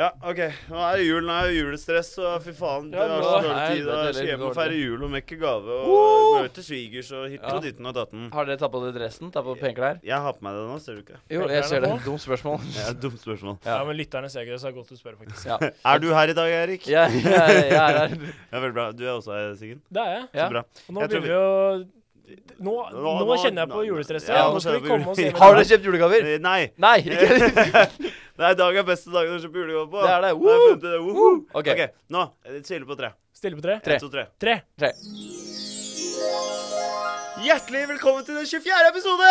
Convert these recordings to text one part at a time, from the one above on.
Ja, OK. Nå er det jul, nå er det julestress, og fy faen. Det Ja, er så nå- dårlig tid. helvete, da. Jeg skal hjem og dårlig. feire jul og mekke gave og Woo! møte svigers og hit Ja. og ditten og datten. Har dere tatt på dere dressen? Tatt på penklær? Jeg har på meg det nå, ser du ikke? Jo, jeg ser det. Dumt spørsmål. Det er et dumt spørsmål. Ja. Ja, men lytterne ser ikke det, så det er godt du spør, faktisk. Ja. Er du her i dag, Erik? Jeg, jeg, jeg er her. Ja, veldig bra. Du er også her, Siggen? Det er jeg. Ja. Så bra. Og nå Jeg tror begynner vi å nå, nå, Nå- nå- kjenner jeg på nå- julestresset. ja, Ja, nå nå skal kjenner jeg på vi komme oss jule- hjem. Har dere kjøpt julegaver? Eh, Nei. Nei! ikke Nei, i dag er beste dagen å kjøpe julegave på. Det er det. Nå har jeg funnet det. Woohoo! Ok. OK, nå. eh, Stille på tre. Stille på tre. Tre. En, to, tre. Tre. Tre. Hjertelig velkommen til den 24. episode!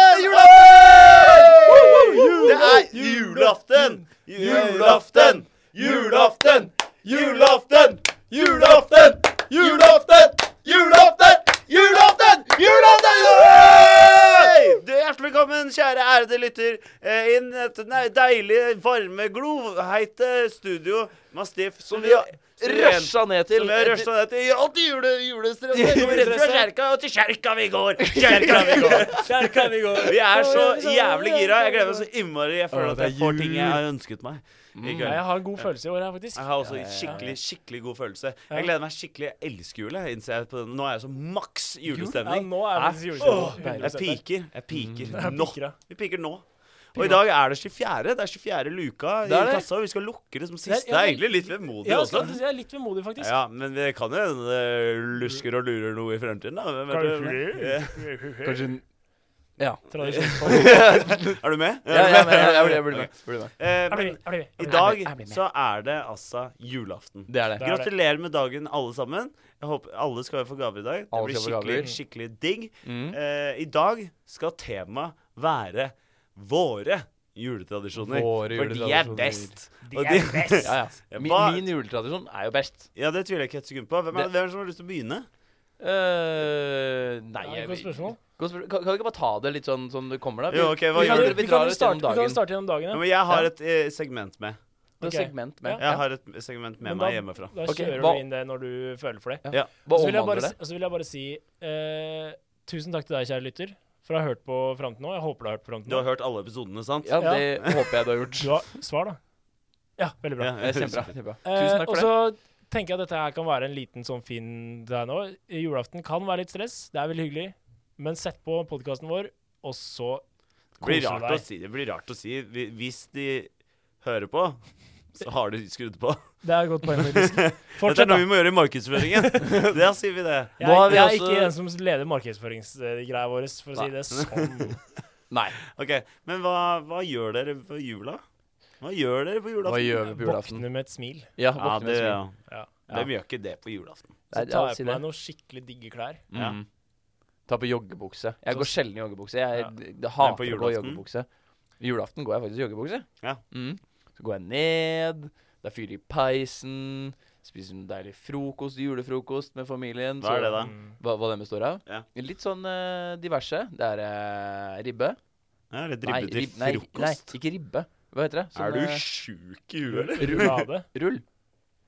Julaften! Det er julaften! Julaften! Julaften! Julaften! Julaften! Julaften! Julaften! Julaften! Julaften! Hey! Du er Hjertelig velkommen, kjære ærede lytter, eh, inn i dette ne- deilige, varme, gloheite studio med Stiff, som vi har Rusha ned til som jeg rusha ned til. Gjør alltid jule, julestress. Ja, Vi går rett fra julestress, ja. kjerka og til kjerka vi går. Kjerka vi går. Der kan vi gå. Vi er så jævlig gira. Jeg gleder meg så innmari. Jeg føler Å, at det er jeg får ting jeg jul. Mm. har ønsket meg. i Ja, kveld. jeg har en god følelse i år her, faktisk. Jeg har også skikkelig skikkelig god følelse. Jeg gleder meg skikkelig. Jeg elsker jul. jeg innser jeg på det. Nå er jeg så maks Ja, julestemning. nå er Hæ? faktisk Åh, julestresset. Jeg piker. Jeg piker nå. piker, ja. Vi piker nå. Og i dag er det 24. Det er 24 luka i Det er det. kassa, og vi skal lukke det som er- siste. Det er egentlig litt vemodig Ja, jeg også. skal si jeg er litt vemodig, faktisk. Ja, men vi kan jo hende det lusker og lurer noe i fremtiden, da. Hvem vet du? Kanskje Kanskje Ja. Tradisjonelt. Er du med? Ja, jeg, jeg, jeg, jeg, jeg blir med. Blir med. Eh, Jeg men blir- jeg blir med. I Jeg blir dag med. så er det altså julaften. Det er det. er det. Gratulerer med dagen, alle sammen. Jeg håper Alle skal få gaver i dag. Det Alle blir skal få skikkelig, gaver. skikkelig digg. Mm. Eh, I dag skal temaet være våre juletradisjoner. Våre for de er juletradisjoner. best. De Og er best. Ja, ja. Min, Hva- min juletradisjon er jo best. Ja, det tviler jeg ikke et sekund på. Hvem er, Det- hvem er det som har lyst til å begynne? Eh, nei, Ja, Øh, jeg godt spørsmål. Godt spørsmål. Kan, kan vi ikke bare ta det litt sånn som det kommer, da? Vi, Jo, ok, hva vi, gjør kan, dere? vi Vi kan drar jo oss starte, gjennom vi kan jo dagen. starte gjennom dagen. Ja, Ja. men jeg har et eh, segment med. Det er Ok. segment med. Jeg har et segment med Men meg da- hjemmefra. Da Ok, kjører hva- du inn det når du føler for det. Ja. Hva Så vil jeg omhandler bare, det? si- så vil jeg bare si eh, tusen takk til deg, kjære lytter, for å ha hørt på fram til nå. Jeg håper du har hørt på fram til Du har nå. hørt alle episodene, sant? Ja, Ja. det håper jeg du har gjort. Du har svar, da? Ja, veldig bra. Det er Kjempebra. kjempebra. Eh, Tusen takk og for så det. tenker jeg at dette her kan være en liten sånn fin til deg nå. Julaften kan være litt stress, det er veldig hyggelig, men sett på podkasten vår, og så Det blir koser du rart å deg. altså. si. Det blir rart å si. Vi- Hvis de hører på, så har de skrudd på. Det er et godt poeng, faktisk. Dette er Fortsett, noe da. vi må gjøre i markedsføringen. Da sier vi det. Jeg, Nå har er- vi jeg er også- ikke den som leder markedsføringsgreia vår, for å si Nei. det sånn. Nei. Ok, Men hva, hva gjør dere på jula? Hva gjør dere på Hva julaften? gjør vi på julaften? Våkne med et smil. Ja, Ja, våkne med det, smil. ja. Ja. Hvem gjør ikke det på julaften? Nei, Så ja, tar jeg på si det. meg noen skikkelig digge klær. Ja. Mm. Ta på joggebukse. Jeg Så- går sjelden i joggebukse. Jeg Ja. d- d- hater å gå i julaften? joggebukse. Julaften går jeg faktisk i joggebukse. Ja. Mm. Så går jeg ned, det er fyr i peisen, spiser en deilig frokost, julefrokost med familien. Hva er det, da? Mm. Hva, hva den består av? Ja. Litt sånn eh, diverse. Det er eh, ribbe. Ja, eller dribbe til rib- nei, nei, frokost? ikke ribbe. Hva heter det? Er du eh, sjuk i huet, eller? Rullade. Rull.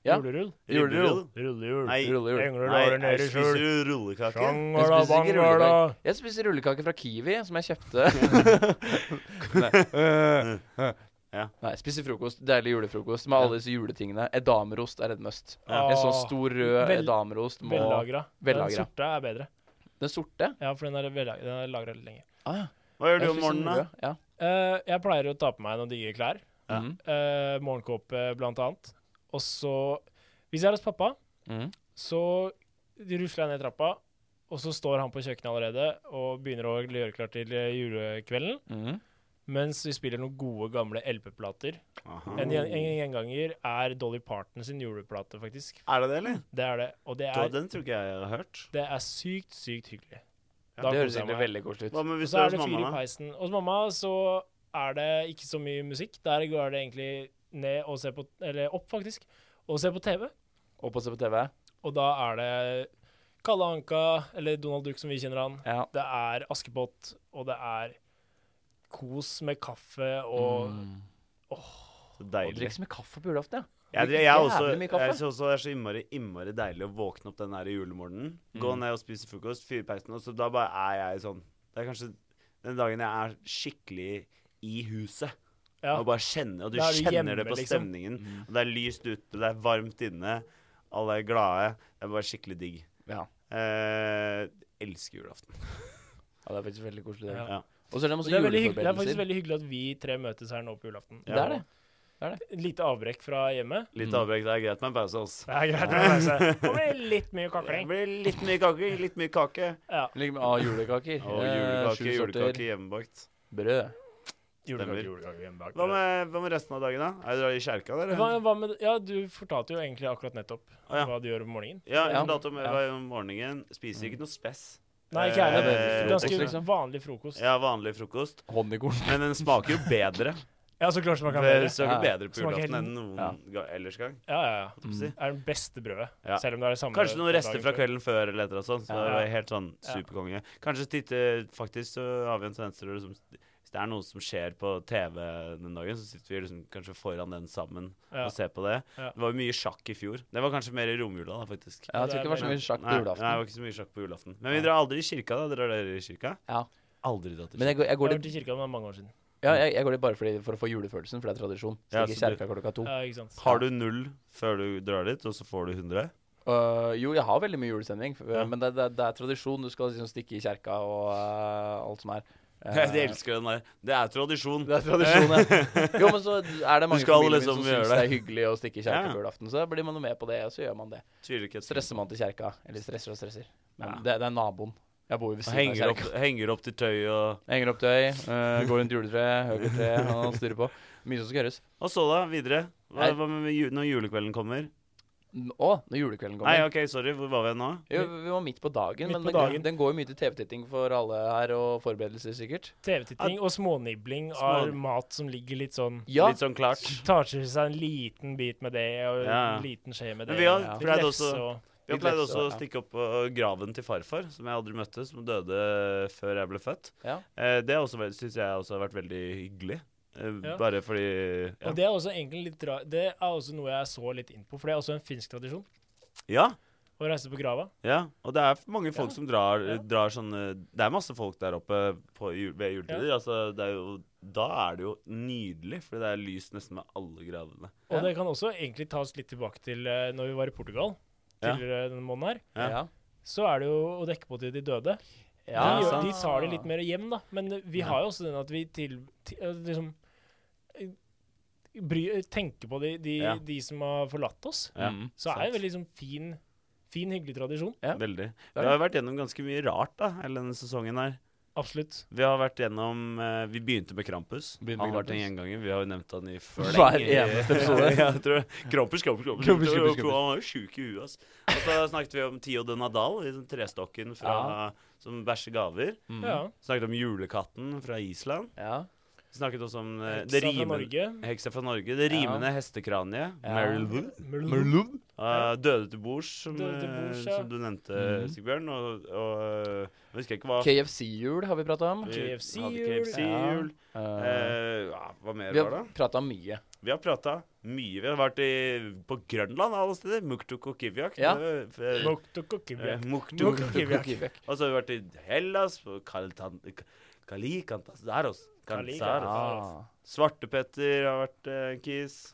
Ja. Julerull. Gjorde du Ribberull? Rullerull. Nei, Rull, rull. Engler nei, daler nei, nede i spiser skjul. du rullekake? Sjangala, Jeg spiser ikke bangala. Jeg spiser rullekake fra Kiwi, som jeg kjøpte. Nei. Ja. Nei, spiser frokost. Deilig julefrokost med alle disse juletingene. Edamerost er et must. Ja. En sånn stor rød Vel- edamerost må Vellagra. Den Vellagra. sorte er bedre. Den sorte? Ja, for den er, vellagra- den er lagra litt lenger. Ah, ja. Hva gjør Jeg du om spiser den morgenen, da? røde, Ja. Eh, jeg pleier å ta på meg noen digre klær. Ja. Mhm. Eh, morgenkåpe, blant annet. Og så Hvis jeg er hos pappa, Mhm. så rusler jeg ned trappa, og så står han på kjøkkenet allerede og begynner å gjøre klart til eh, julekvelden. Mhm. Mens vi spiller noen gode, gamle LP-plater. Aha. En, gjen- en gjenganger er Dolly Parton sin juleplate, faktisk. Er det det, eller? Det er det. Og det Da, er, den tror ikke jeg jeg har hørt. det er sykt, sykt hyggelig. Ja, Da Det høres koser jeg egentlig meg. veldig koselig ut. Hva med Og hvis du er så er hos det fyr i mamma? da? peisen. Hos mamma så er det ikke så mye musikk. Der går det egentlig ned og ser på Eller opp, faktisk. Og ser på TV. Opp og se på TV. Og da er det Kalle Anka, eller Donald Duck som vi kjenner han. Ja. Det er Askepott, og det er kos med kaffe og Mm. Så Og deilig. drikke så mye kaffe på julaften, ja. Jeg, Drikker jeg, er også, jævlig jeg mye kaffe. synes også det er så innmari, innmari deilig å våkne opp den der julemorgenen. Gå ned og spise frokost, fyre peisen, og så da bare er jeg sånn Det er kanskje den dagen jeg er skikkelig i huset. Ja. Og bare kjenner, og du Da er du kjenner hjemme, det på liksom. stemningen. Og det er lyst ute, det er varmt inne, alle er glade. Det er bare skikkelig digg. Ja. Eh, elsker julaften. ja, det er faktisk veldig koselig. Det. Ja. Ja. Og så er det Og masse Det er, veldig hyggelig, det er faktisk juleforberedelser. veldig hyggelig at vi tre møtes her nå på julaften. Ja. Det er det. Et lite avbrekk fra hjemmet. Litt Mm. avbrekk, det er greit med en pause, altså. Det er greit å reise. Det blir litt mye Det kakling. blir litt mye kake, litt mye kake. Ja, Ligger med ah, julekaker. Og Eh, julekake, sju sorter julekake hjemmebakt. Brød. Stemmer. julekake, julekake hjemme bak. Hva med, hva med resten av dagen, da? Er dere i kjerka, dere? Hva, hva med, ja, du fortalte jo egentlig akkurat nettopp Å, ja. hva du gjør om morgenen. Ja, jeg Ja. fortalte om Ja. hva jeg gjør om morgenen. Spiser ikke noe spess. Nei, ikke jeg heller. Eh, Ganske frokost, liksom. vanlig frokost. Ja, vanlig frokost. Honningkorn. Men den smaker jo bedre. Ja, så klart som man kan Det være. smaker Ja. bedre på Smaker julaften helt- enn noen ga- ellers gang. Ja, ja, ja. holdt jeg på å si. Det er det beste brødet. Ja. Selv om det er det samme. Kanskje noen dagen rester fra før. kvelden før eller et eller annet sånt. Så Ja. det var helt sånn Ja. superkonge. Kanskje titte, faktisk så har vi en tendens til å liksom Hvis det er noe som skjer på TV den dagen, så sitter vi liksom kanskje foran den sammen Ja. og ser på det. Ja. Det var jo mye sjakk i fjor. Det var kanskje mer i romjula, da, faktisk. Ja, jeg tror ikke det var så mye sjakk på Nei, nei, det julaften. var ikke så mye sjakk på julaften. Men vi drar aldri i kirka, da. Drar dere i kirka? Ja. Aldri dratt i kirka. Men jeg går, jeg, Jeg går har litt, vært i kirka med mange år siden. ja, jeg, jeg går litt bare fordi, for å få julefølelsen, for det er tradisjon. Ja, Stikker i så du- kjerka klokka to. Ja, ikke sant. Har du null før du drar dit, og så får du 100? Øh, jo, jeg har veldig mye julestemning, f- Ja. men det, det, det er tradisjon. Du skal liksom stikke i kjerka og øh, alt som er. Eh, Jeg elsker den der. Det er tradisjon. Det er tradisjon, ja. Jo, men så er det mange skal familier liksom som gjøre syns det er hyggelig å stikke i kjerka Ja. på julaften. Så da blir man jo med på det, og så gjør man det. Tviler ikke et sekund. Stresser man til kjerka. Eller stresser og stresser. Men Ja. det, det er naboen. Jeg bor jo ved Og siden av Henger opp, kjerka. henger opp til tøy og Henger opp tøy, øh, går rundt juletreet, høker treet, han styrer på. Mye som skal gjøres. Og så da, videre. Hva, Nei. hva med ju når julekvelden kommer? N- Å, når julekvelden kommer. Nei, OK, sorry. Hvor var vi nå? Jo, vi var midt på dagen, Midt men på den, dagen. den går jo mye til TV-titting for alle her, og forberedelser sikkert. TV-titting og smånibling Smån- av mat som ligger litt sånn Ja, Litt sånn klart. Tar til seg en liten bit med det, og Ja. en liten skje med Men det. vi har og pleid lefse også- og- Vi Litt pleide lefse, også å ja. stikke opp på graven til farfar, som jeg aldri møtte, som døde før jeg ble født. Ja. Eh, det syns jeg også har vært veldig hyggelig. Eh, Ja. Bare fordi ja. Og det er også egentlig litt dra Det er også noe jeg så litt inn på, for det er også en finsk tradisjon. ja. Å reise på grava. Ja, og det er mange folk Ja, som drar, ja. drar sånne Det er masse folk der oppe på, ju- ved juletider. Altså, det er jo, da er det jo nydelig, fordi det er lys nesten ved alle gravene. Og Ja. det kan også egentlig tas litt tilbake til eh, når vi var i Portugal Ja. tidligere denne måneden her. Ja. ja. Så er det jo å dekke på til de døde. Ja, de, gjør- sant. de tar det litt mer hjem, da. Men eh, vi Ja. har jo også den at vi til, ti- eh, liksom eh, bry, eh, tenker på de, de, Ja. de som har forlatt oss. Ja, Mm. Så er det sant. en veldig sånn fin, fin, hyggelig tradisjon. Ja. Veldig. er Vi har vært gjennom ganske mye rart da, hele denne sesongen her. Absolutt. Vi har vært gjennom eh, Vi begynte med Krampus. Begynte med han har vært Krampus. en gjenganger. Vi har jo nevnt han i før Hver lenge. eneste episode. ja, jeg tror, Krampus, Krampus, Krampus. Krampus, Krampus, Krampus. Han var jo sjuk i huet, altså. Og så snakket vi om Tio de Nadal, liksom trestokken fra, som bæsjer gaver. Mm. Ja. Snakket om julekatten fra Island. ja. Snakket også om eh, Heksa det fra rimen, Norge. Heksa fra Norge. Det Ja. rimende hestekraniet. Ja. Marilyn. Ja. Eh, døde til bords, som, Døde til eh, bords, ja. som du nevnte, Mhm. Sigbjørn. Og, og eh, jeg husker ikke hva KFC-jul har vi prata om. Vi KFC hadde jul. KFC-jul. Eh, Eh, ja, hva mer vi var det? har prata mye. Vi har prata mye. Vi har vært i, på Grønland alle steder. Muktuk og Kivjak. Ja. Det var- eh, eh, Moktokokibiak. Muktuk. Muktuk. Kivjak. Kivjak. Og så har vi vært i Hellas, på Kaltan- K- Kalikantasaros. Kantsaros. Kalikantas. Ah. Svartepetter har vært eh, en kis.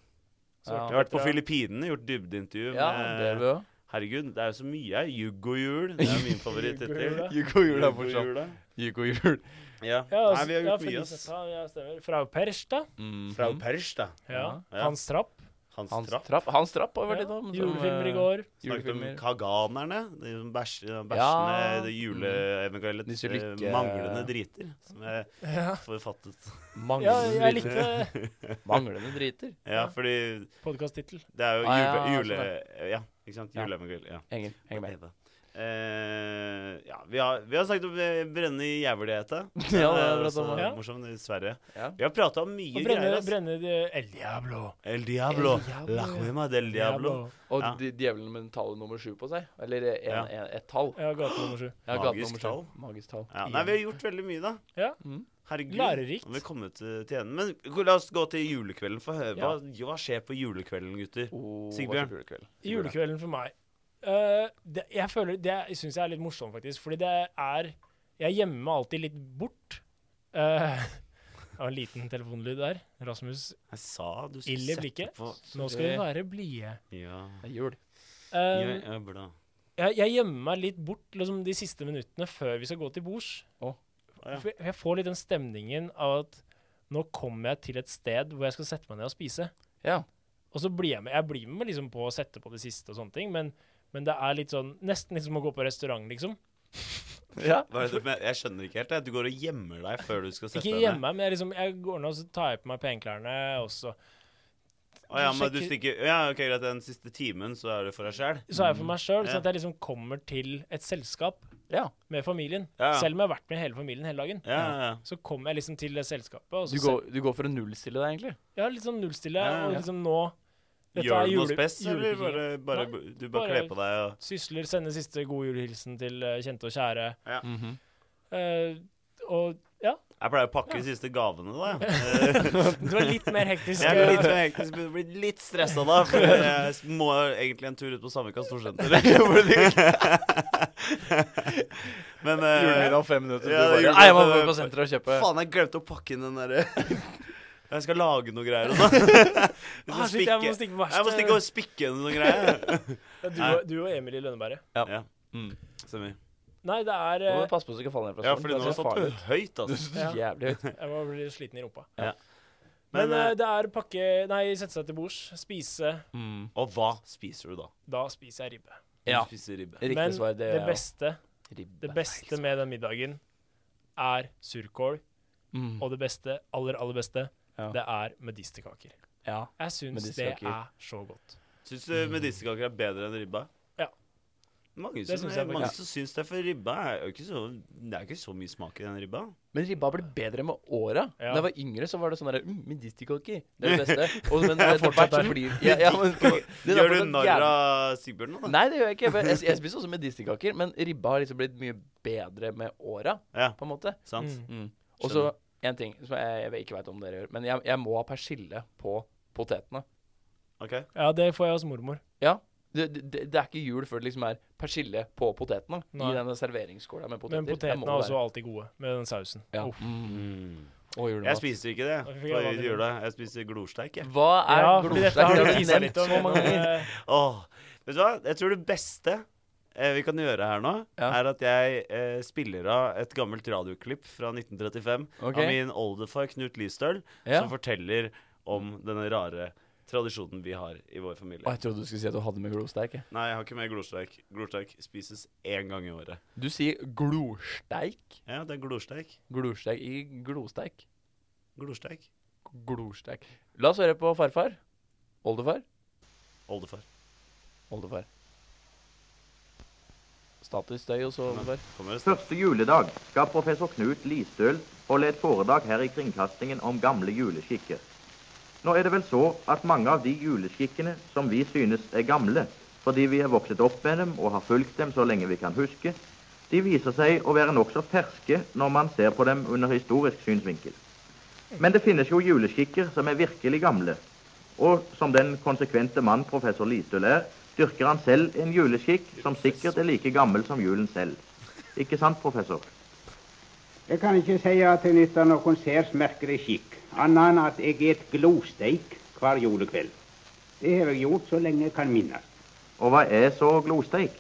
Ja. Vi har vært på Ja. Filippinene, gjort dybdeintervju Ja, det er med vi òg. Herregud, det er jo så mye her. Juggojul. Det er min Juggojul, favorittittel. ja. Jukojul Juggojula. Jukojul. Ja. Ja, Nei, vi har gjort mye, ass. ass. Ja, stemmer. Fra Persta. Fra Pers, da. Ja. Ja. Hans Trapp. Hans, Mm-hmm. Hans Trapp. trapp. Hans trapp har vi vært Ja. innom. som, Julefilmer i eh, går. Snakket om Julefilmer. kaganerne. De som bæsj- bæsjende Ja. det juleeventuelle Disse lykke- eh, manglende driter, som er Ja. forfattet. ja, jeg Manglende driter. likte Manglende driter. Ja, Ja. fordi podkast-tittel. det er jo Ah, jule... ja, sånn jule ja, ikke sant? Ja. Juleevangeliet. Ja. Henger, henger med. Eva. Eh, ja, vi har, vi har snakket om eh, brenne i jævlighetet. Ja, det er er bra også sammen. Ja. morsomt i Sverige. Ja. Vi har prata om mye Og greier. brenne, ass. brenne de El Diablo. El Diablo. El Diablo, La ja. Huema del Diablo. Og Ja. de- djevelen med tallet nummer sju på seg. Eller eh, en, Ja. en, et tall. Ja, gate nummer sju. Ja, gate Magisk nummer sju. tall. Magisk tall. Ja, nei, vi har gjort veldig mye, da. Ja. Mm. Herregud. Lærerikt. Nå har vi kommet til, til enden. Men gå- la oss gå til julekvelden. For høre. Ja. Hva, hva skjer på julekvelden, gutter? Oh, Sigbjørn. hva slags julekveld? Sigbjørn. Julekvelden for meg. Eh, det, jeg føler, det syns jeg er litt morsomt, faktisk. Fordi det er Jeg gjemmer meg alltid litt bort. Eh, Det var en liten telefonlyd der. Rasmus, Jeg sa du Ild i skulle sette blikket. på nå skal vi være blide. Ja. Det er jul. Um, Jeg er blad. jeg, jeg gjemmer meg litt bort liksom, de siste minuttene før vi skal gå til bords. Å. Å, ja. For jeg- Jeg får litt den stemningen av at nå kommer jeg til et sted hvor jeg skal sette meg ned og spise. Ja. Og så blir jeg med, jeg blir med liksom på å sette på det siste og sånne ting, men, men det er litt sånn Nesten litt som å gå på restaurant, liksom. ja. Hva er det du mener? Jeg skjønner ikke helt. jeg. Du går og gjemmer deg før du skal sette Ikke deg hjemme, men jeg, liksom, jeg går nå og så tar jeg på meg penklærne også. Å ja, men du sjekker- stikker Ja, OK, greit. Den siste timen så er det for deg sjæl. Så er jeg for meg sjøl, Mm. Ja. sånn at jeg liksom kommer til et selskap ja. med familien. Ja. Selv om jeg har vært med hele familien hele dagen. Ja, ja, ja. Så kommer jeg liksom til det selskapet, og Du, så går, du går for å nullstille deg, egentlig? Ja, litt sånn nullstille. Ja, ja, Og ja. liksom nå dette Gjør er du noe jule- spes, eller julepikkingen. bare, bare Du bare bare- kler på deg og Sysler, sender siste god julehilsen til eh, kjente og kjære. Mhm. Eh, og ja, Jeg pleier å pakke de siste gavene, da. jeg. Eh, det var litt mer hektisk. Jeg blir litt, eh, hektisk, men blir litt stressa da, for jeg må egentlig en tur ut på Sandvika storsenter. Hvor det ligger. Men eh, Julemiddag om fem minutter. Ja, det du er bare, Nei, jeg må julemiddag. gå på senteret og kjøpe faen, jeg glemte å pakke inn den derre Jeg skal lage noe greier og sånn. ah, shit, jeg må stikke på Jeg må stikke og verkstedet. spikke inn noe greier. Du, og- du og Emil i Lønneberget. Ja. Mm. Stemmer. Nei, det er Nå må eh, du passe på så du ikke faller ned fra Ja, stolen, fordi Sånn, det nå har ser farlig jeg ut. satt høyt, Du altså. sitter jævlig høyt. Jeg var litt sliten i rumpa. Ja. Men, Men, eh, eh, det er pakke Nei, sette seg til bords, spise. Mm. Og hva spiser du da? Da spiser jeg ribbe. Ja. Du spiser ribbe. Riktig Men svar, det det er beste, ribbe. det beste med den middagen er surkål, Mm. og det beste, aller, aller beste, Ja. det er medisterkaker. Ja. Jeg syns det Medisterkaker. er så godt. Syns du medisterkaker er bedre enn ribba? Ja. Mange Det som, syns jeg mange faktisk. som syns det, for ribba er jo ikke så Det er ikke så mye smak i den ribba. Men ribba blir bedre med åra. Ja. Da jeg var yngre, så var det sånn derre mm, Medisterkaker. Det er det beste. Og, men Jeg er etter fortsatt hvert så der. blir ja, ja, men, det er Gjør du fortsatt narr jævlig- av Sigbjørn nå, da? Nei, det gjør jeg ikke. Jeg, jeg, jeg spiser også medisterkaker, men ribba har liksom blitt mye bedre med åra, Ja, på en måte. sant? Mm. Mm. Og så en ting som jeg, jeg ikke veit om dere gjør, men jeg, jeg må ha persille på potetene. OK. Ja, det får jeg hos mormor. Ja. Det, det, det er ikke jul før det liksom er persille på potetene. Nei. I denne serveringsskåla med poteter. Men potetene er er også alltid gode med den sausen. ja. Uff. mm. Mm. Og Jeg julemat. spiser ikke det. Da fikk jeg På vanlig jul. jula. Jeg spiser glorsteik, jeg. Hva er ja, for dette blodsteik? har Det du har du tisa litt nevnt om. så mange ganger. eh, Åh. Vet du hva? Jeg tror det beste eh, vi kan gjøre her nå, Ja. er at jeg eh, spiller av et gammelt radioklipp fra 1935 Ok. av min oldefar Knut Listøl, Ja. som forteller om denne rare tradisjonen vi har i vår familie. Å, jeg trodde du skulle si at du hadde med glorsteik. jeg. Nei, jeg har ikke mer glorsteik. Glorsteik spises én gang i året. Du sier glorsteik. Ja, det er glorsteik. Glorsteik, ikke glosteik. Glorsteik. Glorsteik. La oss høre på farfar. Oldefar. Oldefar. Oldefar. Statisk støy hos oldefar. Kommer det snart? Første juledag skal professor Knut Listøl holde et foredrag her i kringkastingen om gamle juleskikker. Nå er det vel så at mange av de juleskikkene som vi synes er gamle, fordi vi er vokset opp med dem og har fulgt dem så lenge vi kan huske, de viser seg å være nokså ferske når man ser på dem under historisk synsvinkel. Men det finnes jo juleskikker som er virkelig gamle, og som den konsekvente mann professor Listøl er, dyrker han selv en juleskikk som sikkert er like gammel som julen selv. Ikke sant, professor? Jeg kan ikke si at jeg nytter noen særs merkelig skikk, annet enn at jeg et glosteik hver julekveld. Det har jeg gjort så lenge jeg kan minnes. Og hva er så glosteik?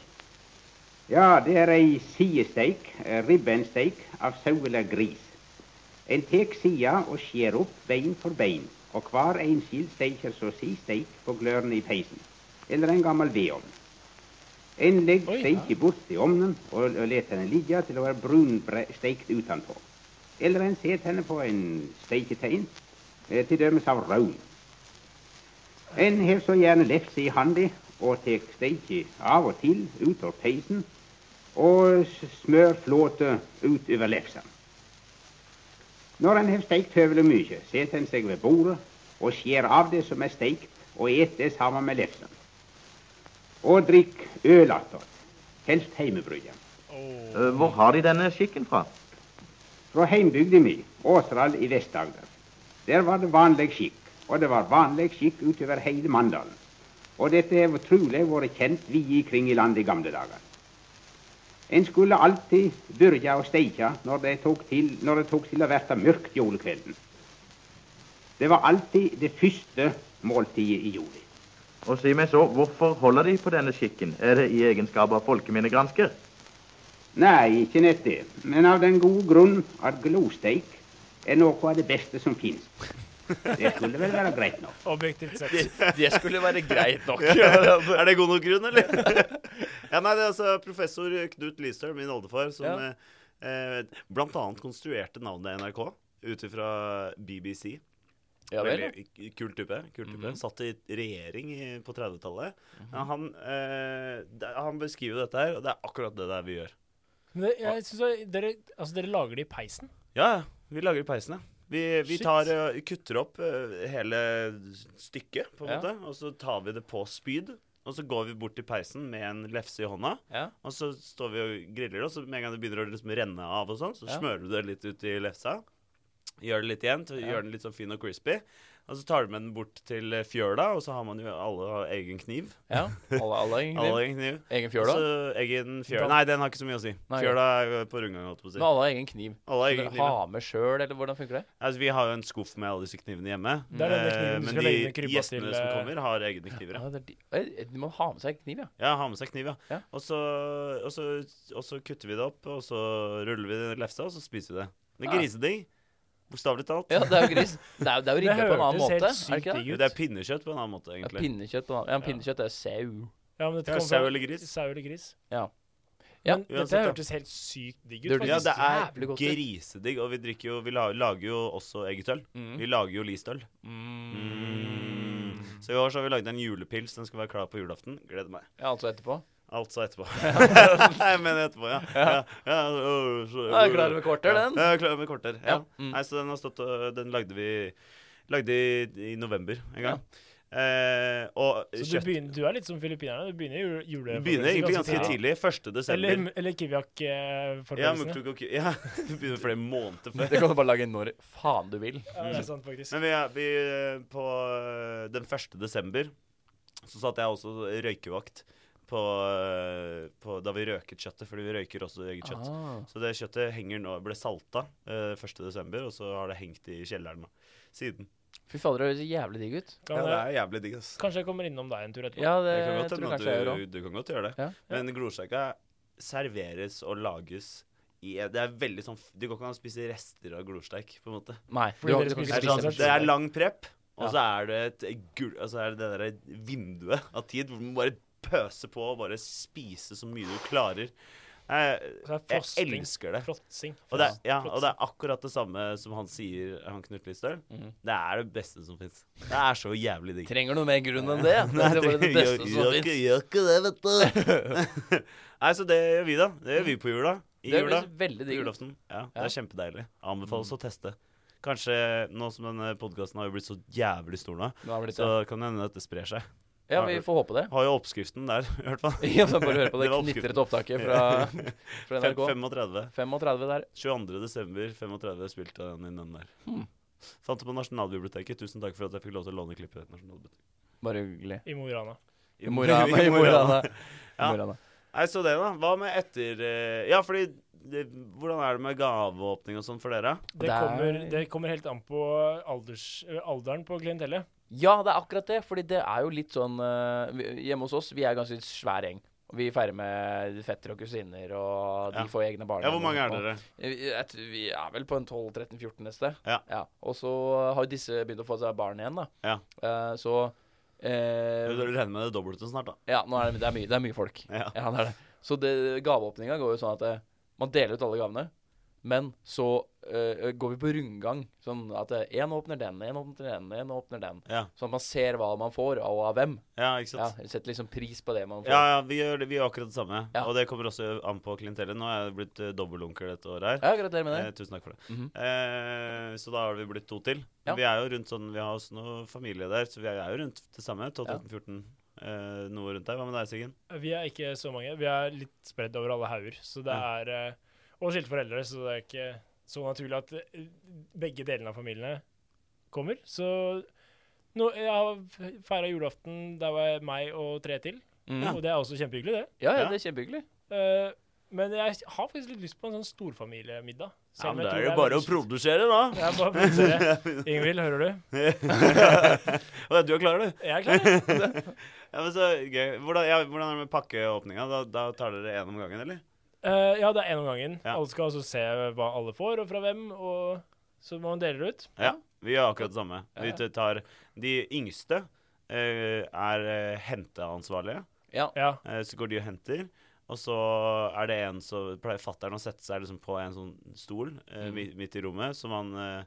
Ja, det er ei sidesteik, eh, ribbensteik, av sau eller gris. En tek sida og skjærer opp bein for bein, og hver enskild steker så si steik på glørne i peisen, eller en gammel vedovn. En legger Oi, steiken bort i ovnen og, og lar den ligge til å være brunsteikt utenpå. Eller en setter henne på en steiketein, eh, til dømes av raun. En har så gjerne lefse i handa og tar steike av og til ut av peisen og s- smør flåte utover lefsa. Når en har steikt høvelig mye, setter en seg ved bordet og skjærer av det som er steikt, og et det sammen med lefsa. Og drikk øl attåt, helst heimebrygga. åh. Eh, Hvor har de denne skikken fra? Fra heimbygda mi, Åseral i Vest-Agder. Der var det vanlig skikk, og det var vanlig skikk utover hele Mandalen. Og dette har trolig vært kjent vide kring i landet i gamle dager. En skulle alltid begynne å steike når det tok til, når det tok til å verte mørkt julekvelden. Det var alltid det første måltidet i juli. Og si meg så, hvorfor holder de på denne skikken? Er det i egenskap av folkeminnegransker? Nei, ikke nett det. Men av den gode grunn at glosteik er noe av det beste som finnes. Det skulle vel være greit nok. Objektivt sett. Det, det skulle være greit nok. er det god nok grunn, eller? ja, nei, det er altså professor Knut Lystøl, min oldefar, som Ja. eh, eh, blant annet konstruerte navnet NRK ut ifra BBC. Ja Mhm. vel? Veldig k- kul type. Kul type. Satt i regjering i, på 30-tallet. Mhm. Ja, han, eh, det- han beskriver dette her, og det er akkurat det der vi gjør. Men det, jeg synes at dere, altså, dere lager det i peisen. Ja, ja. Vi lager peisene. Vi, vi Shit. tar, eh, kutter opp eh, hele stykket, på en Ja. måte, og så tar vi det på spyd. Og så går vi bort til peisen med en lefse i hånda, Ja. og så står vi og griller. Og så med en gang det begynner å liksom renne av, og sånn, så Ja. smører du det litt ut i lefsa. Gjør det litt igjen, til, gjør den litt sånn fin og crispy. Og så tar du med den bort til eh, fjøla, og så har man jo alle har egen kniv. ja. Alle, alle, egentlig. Alle har egen kniv. Egen fjøl, da? Så egen fjøla. Da- Nei, den har ikke så mye å si. Nei. Fjøla er jo på rundgang, holdt jeg på å si. Men alle har egen kniv. Alle har Dere egen kniv. ja. Ha med sjøl, eller hvordan funker det? Altså, vi har jo en skuff med alle disse knivene hjemme. Det er denne kniven Eh, du Men skal legge ned de krybba gjestene til, som eh, kommer, har egne kniver. Ja, Ja, det er de. Eh, de må ha med seg kniv, ja. ja har med seg kniv, ja. Ja. Og, så, og, så, og så kutter vi det opp, og så ruller vi det i lefsa, og så spiser vi det. Det er Ja. grisedigg. Bokstavelig talt. Ja, Det er jo gris. Det er, jo- det er jo Det rigga på en hørtes annen måte. helt Er det sykt ikke det? digg Jo, ut. det er pinnekjøtt på en annen måte, Ja, egentlig. pinnekjøtt på en annen. Ja, men pinnekjøtt er jo sau. Ja, men dette Ja, kommer sau fra- eller gris. Sau eller gris. Ja. Ja, men dette uansett, ja. hørtes helt sykt digg ut. Det hørtes ja, det faktisk. jævlig er godt ut. grisedigg, og vi drikker jo Vi la- lager jo også eget øl. Vi lager jo listøl. Så i år så har vi lagd en julepils. Den skal være klar på julaften. Gleder meg. Ja, altså etterpå. Altså etterpå. Nei, men etterpå, ja. ja. ja. øh, så- Ja, jeg er klar med kvarter, den. Ja, jeg er klar med kvarter. Ja. Ja, mm. Nei, så den har stått og Den lagde vi Lagde i, i november en gang. Eh, og Så du, kjøtt begynner, du er litt som filippinerne. Du begynner jule, Den begynner egentlig ganske tidlig. 1. Eller, desember. eller Ja, kiwiak-forberedelsene. Muktuk og Ki- ja, det begynner flere måneder før. Det kan du bare lage når faen du vil. Ja, mm. det er sant, faktisk. Men vi, er- vi eh, på eh, den 1. desember så satt jeg også røykevakt på, eh, på da vi røket kjøttet, fordi vi røyker også eget kjøtt. Ah. Så det kjøttet henger nå, ble salta eh, 1. desember, og så har det hengt i kjelleren da, siden. Fy fader, det høres jævlig digg ut. Kan jeg, er jævlig digg, ass. kanskje jeg kommer innom deg en tur etterpå. Ja, det Det kan godt eh, hende tror jeg at kanskje jeg gjør du, òg. du kan godt gjøre det. Ja, ja. Men glorskjegga serveres og lages i Det er veldig sånn f- Det går ikke an å spise rester av glorsteik, på en måte. Nei, du, Fordi har- dere du kan Det spiser ikke er, spise sånn, det det. er lang prep, og Ja. så er det et gul... Og så er det det derre vinduet av tid hvor du må bare pøse på og bare spise så mye du klarer. Jeg, Så det er jeg frosting. elsker det. Fråtsing. Og det, er- ja, og det er akkurat det samme som han sier, han Knut Lystøl. Mm. Det er det beste som fins. Det er så jævlig digg. Trenger noe mer grunn enn det? Det er bare det beste som Gjør- fins. Gjør ikke det, vet du. Nei, så det gjør vi, da. Det gjør vi på jula. I Det jula. høres veldig På digg ut. julaften. Ja, det Ja. Mm. er kjempedeilig. Anbefales å teste. Kanskje nå som denne podkasten har jo blitt så jævlig stor nå, Nå har det blitt så det. kan det hende at det sprer seg. Ja, vi får håpe det. Har jo oppskriften der, i hvert fall. Ja, men bare hør på det var knitrete opptaket fra, fra Fem- 35. NRK. 35 der. 22. desember 35 spilte den inn den der. Hmm. Fant det på Nasjonalbiblioteket. Tusen takk for at jeg fikk lov til å låne klippet. til Nasjonalbiblioteket. Bare hyggelig. I Mo i Rana. I Mo i Rana. I Mo i Rana. I Mo i Rana. Nei, så det, da. Hva med etter eh, Ja, fordi det, Hvordan er det med gaveåpning og sånn for dere? Det det er- kommer, det kommer helt an på alders, ø, alderen på klientellet. Ja, det er akkurat det. Fordi det er jo litt sånn eh, vi- Hjemme hos oss, vi er ganske svær gjeng. Og vi feirer med fettere og kusiner, og de Ja. får egne barn. Ja, hvor mange er dere? Vi jeg tror vi er vel på en 12-13-14 neste. Ja. Og så har jo disse begynt å få seg barn igjen, da. Ja. Eh, så eh, Du regner med det dobbelte snart, da. Ja, nå er det, det, er mye, det er mye folk. Ja. det er det. Så det, gaveåpninga går jo sånn at eh, man deler ut alle gavene. Men så eh, går vi på rundgang. Sånn at én åpner den, én åpner den, én åpner den. Ja, Sånn at man ser hva man får, og av hvem. ja ikke Ja, sant? Setter liksom pris på det man får. Ja, ja, vi gjør, det- vi gjør akkurat det samme. Ja. Og det kommer også an på klientellet. Nå er jeg blitt eh, dobbelonkel dette året her. Ja, gratulerer med det. Eh, tusen takk for det. eh, så da har vi blitt to til. Ja. Vi er jo rundt sånn, vi har også noe familie der, så vi er jo rundt det samme. 12-13-14, eh, noe rundt der. Hva med deg, Siggen? Vi er ikke så mange. Vi er litt spredt over alle hauger. Så Mm. det er ø, Og skilte foreldre, så det er ikke så naturlig at ø, begge delene av familiene kommer. Så nå, jeg har feira julaften der var jeg meg og tre til. Mm. Og det er også kjempehyggelig, det. Ja, ja, Ja. det er kjempehyggelig. Eh, Men jeg har faktisk litt lyst på en sånn storfamiliemiddag. Ja, selv om men det jeg er tror jo bare å veldig- produsere, da. Det er bare å produsere. Ingvild, hører du? Og du er klar, du? Jeg er klar. jeg. Ja, men så gøy. Hvordan, ja, hvordan er det med pakkeåpninga? Da, da tar dere én om gangen, eller? Eh, ja, det er én om gangen. Ja. Alle skal altså se hva alle får, og fra hvem, og så må man dele det ut. Ja. Vi gjør akkurat det samme. Ja. Vi tar De yngste eh, er eh, henteansvarlige. Ja. Ja. Eh, Så går de og henter. Og så er det en som pleier fatter'n å sette seg liksom på en sånn stol eh, Mm. mi- midt i rommet, som han eh,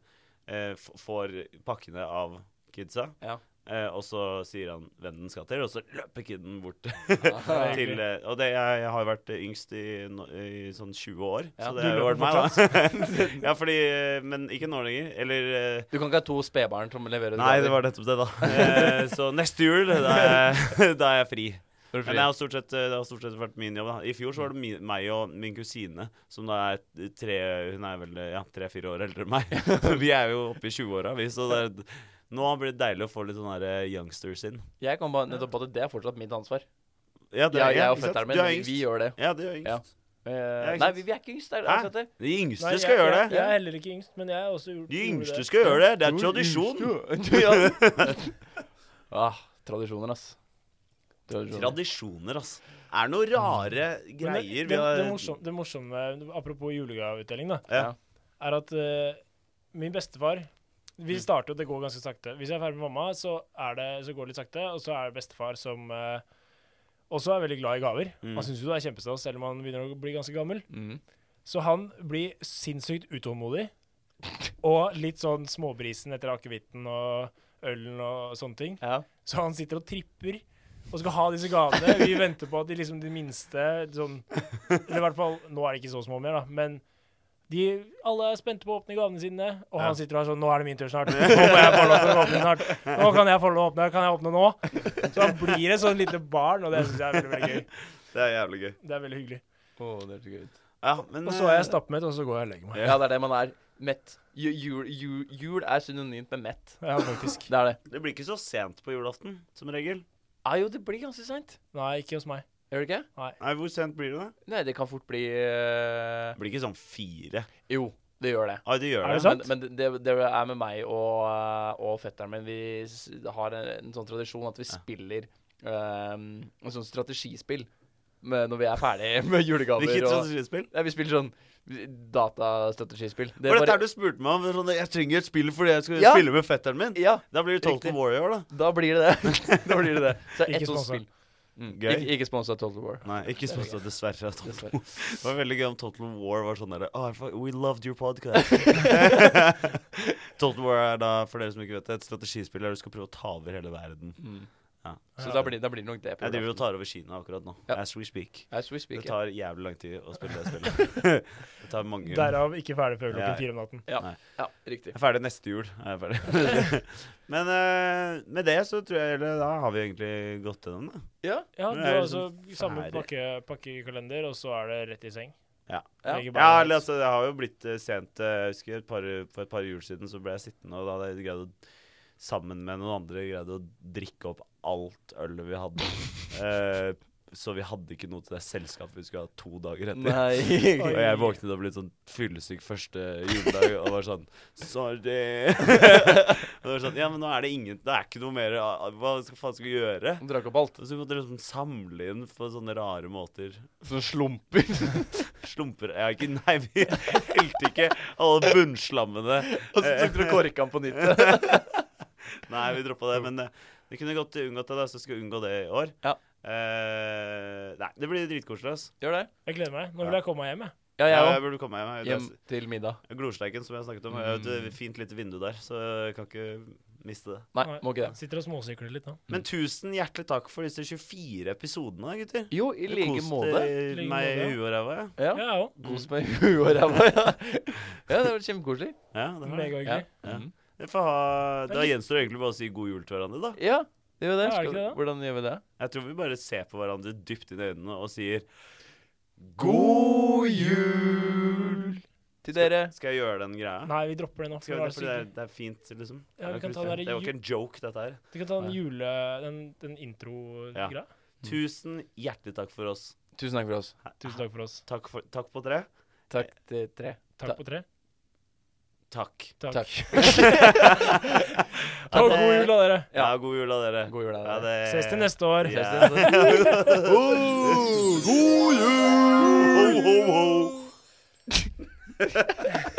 eh, f- får pakkene av kidsa. Ja. Eh, og så sier han hvem den skal til, og så løper kiden bort Ah, til eh, Og det, jeg, jeg har jo vært yngst i, no, i sånn 20 år, Ja. så det Du har jo løper vært meg, da. ja, fordi eh, Men ikke nå lenger. Eller eh, Du kan ikke ha to spedbarn som leverer Nei, det var nettopp det, da. Eh, så neste jul, da er, jeg- da er jeg fri. gaver. Men det har stort sett, det har stort sett vært min jobb. Da. I fjor så var det mi, meg og min kusine, som da er tre Hun er vel ja, tre-fire år eldre enn meg. vi er jo oppe i 20-åra, vi. Så det, er- nå blir det deilig å få litt sånn derre youngsters inn. Jeg kom bare nettopp på at det er fortsatt mitt ansvar. Ja, Jeg, jeg og ikke sant? fetteren min, Du er vi, vi yngst. gjør det. Ja, du er Ja. yngst. Eh, ikke nei, sant. vi, vi er ikke yngst. Er det Hæ? akkurat det? De yngste Nei, skal jeg, gjøre jeg, det. Jeg er heller ikke yngst, men jeg har også gjort De gjorde yngste det. skal gjøre det. Det er tradisjon. Ja. ah, tradisjoner, ass. Tradisjoner. Tradisjoner, altså. Er det noen rare Men det- greier vi det, har det, morsom, det morsomme, apropos julegaveutdeling, da, Ja. er at eh, min bestefar Mm. Vi starter jo, det går ganske sakte. Hvis jeg er ferdig med mamma, så, er det, så går det litt sakte, og så er det bestefar som eh, også er veldig glad i gaver. Mm. Han syns jo det er kjempestas, selv om han begynner å bli ganske gammel. Mm. Så han blir sinnssykt utålmodig. Og litt sånn småbrisen etter akevitten og ølen og sånne ting. Ja. Så han sitter og tripper og skal ha disse gavene. Vi venter på at de liksom de minste sånn Eller i hvert fall Nå er det ikke så små mer, da. Men de, alle er spente på å åpne gavene sine, og han sitter og er sånn Nå er det min tur snart. Nå må jeg få lov til å åpne snart. Nå kan jeg få lov til å åpne. Kan jeg åpne nå? Så han blir et sånn lite barn, og det syns jeg er veldig, veldig gøy. Det er jævlig gøy. Det er veldig hyggelig. Å, det er så gøy. Ja, men, Og så er jeg eh, stappmett, og så går jeg og legger meg. Ja, det er det man er. Mett. Ju- Jul, jul, jul er synonymt med mett. Ja, faktisk. Det er det. eh, Det blir ikke så sent på julaften, som regel. Ah, jo, det blir ganske seint. Nei, ikke hos meg. Gjør det ikke? Nei, Hvor sent blir det, da? Nei, det kan fort bli eh, Det blir ikke sånn fire. Jo, det gjør det. Ai, det gjør Er det. det sant? Men, men det, det er med meg og, eh, og fetteren min. Vi s- har en, en sånn tradisjon at vi spiller ehm, en sånn strategispill med, når vi er ferdig med Hvilket julegaver. Og, strategispill? nei, vi spiller sånn datastrategispill. Det For er dette bare- er du spurte meg om. Sånn, jeg trenger et spill fordi jeg skal Ja. spille med fetteren min. Ja, Da blir det Total Riktig. Warrior, da. da blir det det. da blir det det. Så Ikke ett sånt sponset. spill. Mm, Gøy. Ikke, ikke sponsa Total War. Nei, ikke sånn at dessverre. at Total- Dessverre. Det var veldig gøy om Total War var sånn derre oh, We loved your podcast. Total War er da, for dere som ikke vet det, et strategispill der du skal prøve å ta over hele verden. Mm. Ja. Så da blir, da blir det nok det. på Jeg driver og julaften. tar over Kina akkurat nå. Ja. As we speak. As we speak, Det ja. tar jævlig lang tid å spille det spillet. det tar mange Derav ikke ferdig Ja. før klokken fire om natten. Ja, Nei. ja, riktig. Jeg er ferdig neste jul. Er jeg ferdig. Men eh, med det så tror jeg eller, Da har vi egentlig gått til den. Da. Ja, Ja, Men du er har det sånn altså samme ferdig? pakke, pakkekalender, og så er det rett i seng. Ja. Ja. Ja, Legger barna eller, ut. altså, det har jo blitt eh, sent. eh, Jeg husker et par, For et par jul siden så ble jeg sittende, og da hadde jeg greid å Sammen med noen andre greide å drikke opp alt ølet vi hadde. Eh, så vi hadde ikke noe til det selskapet vi skulle ha to dager etter. Nei. Og jeg våknet opp litt sånn fyllesyk første juledag og var sånn Sorry. og det var sånn Ja, men nå er det ingen Det er ikke noe mer ah, Hva skal faen skal vi gjøre? Drakk opp alt. Og så måtte jeg liksom samle inn på sånne rare måter. Sånn slumper. Slumper Ja, ikke Nei, vi helte ikke alle bunnslammene. Og så tok dere korka den på nytt. Nei, vi droppa det. Men eh, vi kunne godt unngått det, da, så skal vi unngå det i år. Ja. Eh, nei, det blir dritkoselig, ass. Gjør det. Jeg gleder meg. Nå vil jeg komme meg hjem, jeg. Ja, jeg Jeg òg. burde komme hjem. Jeg Hjem Mm. vet, det altså. til middag. er Glorsteiken, som jeg snakket om. Jeg vet, et eh, fint lite vindu der, så jeg kan ikke miste det. Nei, må ikke det. Sitter og småsykler litt nå. Mm. Men tusen hjertelig takk for disse 24 episodene, gutter. Jo, i like måte. Kost eh, Like meg i måte. huet og ræva. ja. Ja. Ja, jeg òg. Kos meg i huet og ræva. Ja, Ja, det var kjempekoselig. Ja, det har jeg. Megahyggelig. Ja. Ja. Jeg får ha, da gjenstår det egentlig bare å si god jul til hverandre, da. ja, det Ja, er gjør det. det Skal, ikke det? hvordan gjør vi det? Jeg tror vi bare ser på hverandre dypt inn i øynene og sier God jul til dere. Skal jeg gjøre den greia? Nei, vi dropper det nå. Skal Nå vi er det, det fordi det, er, sykler. det er fint, liksom. Ja, vi Det er kan ta kult, den det. der Det var ikke ju- en joke, dette her. Du kan ta den Ja. jule... Den, den intro-greia. Tusen hjertelig takk for oss. Tusen takk for oss. Tusen takk for oss. Takk, for, takk på dere. Takk til tre. Takk på tre. Takk. Takk. Takk. Ha god jul, da, dere. Ja, god jul da, dere. God jul, da, Ja, dere. det- Ses til neste år. Ja. Ses til neste Oh, god jul! Ho, ho, ho.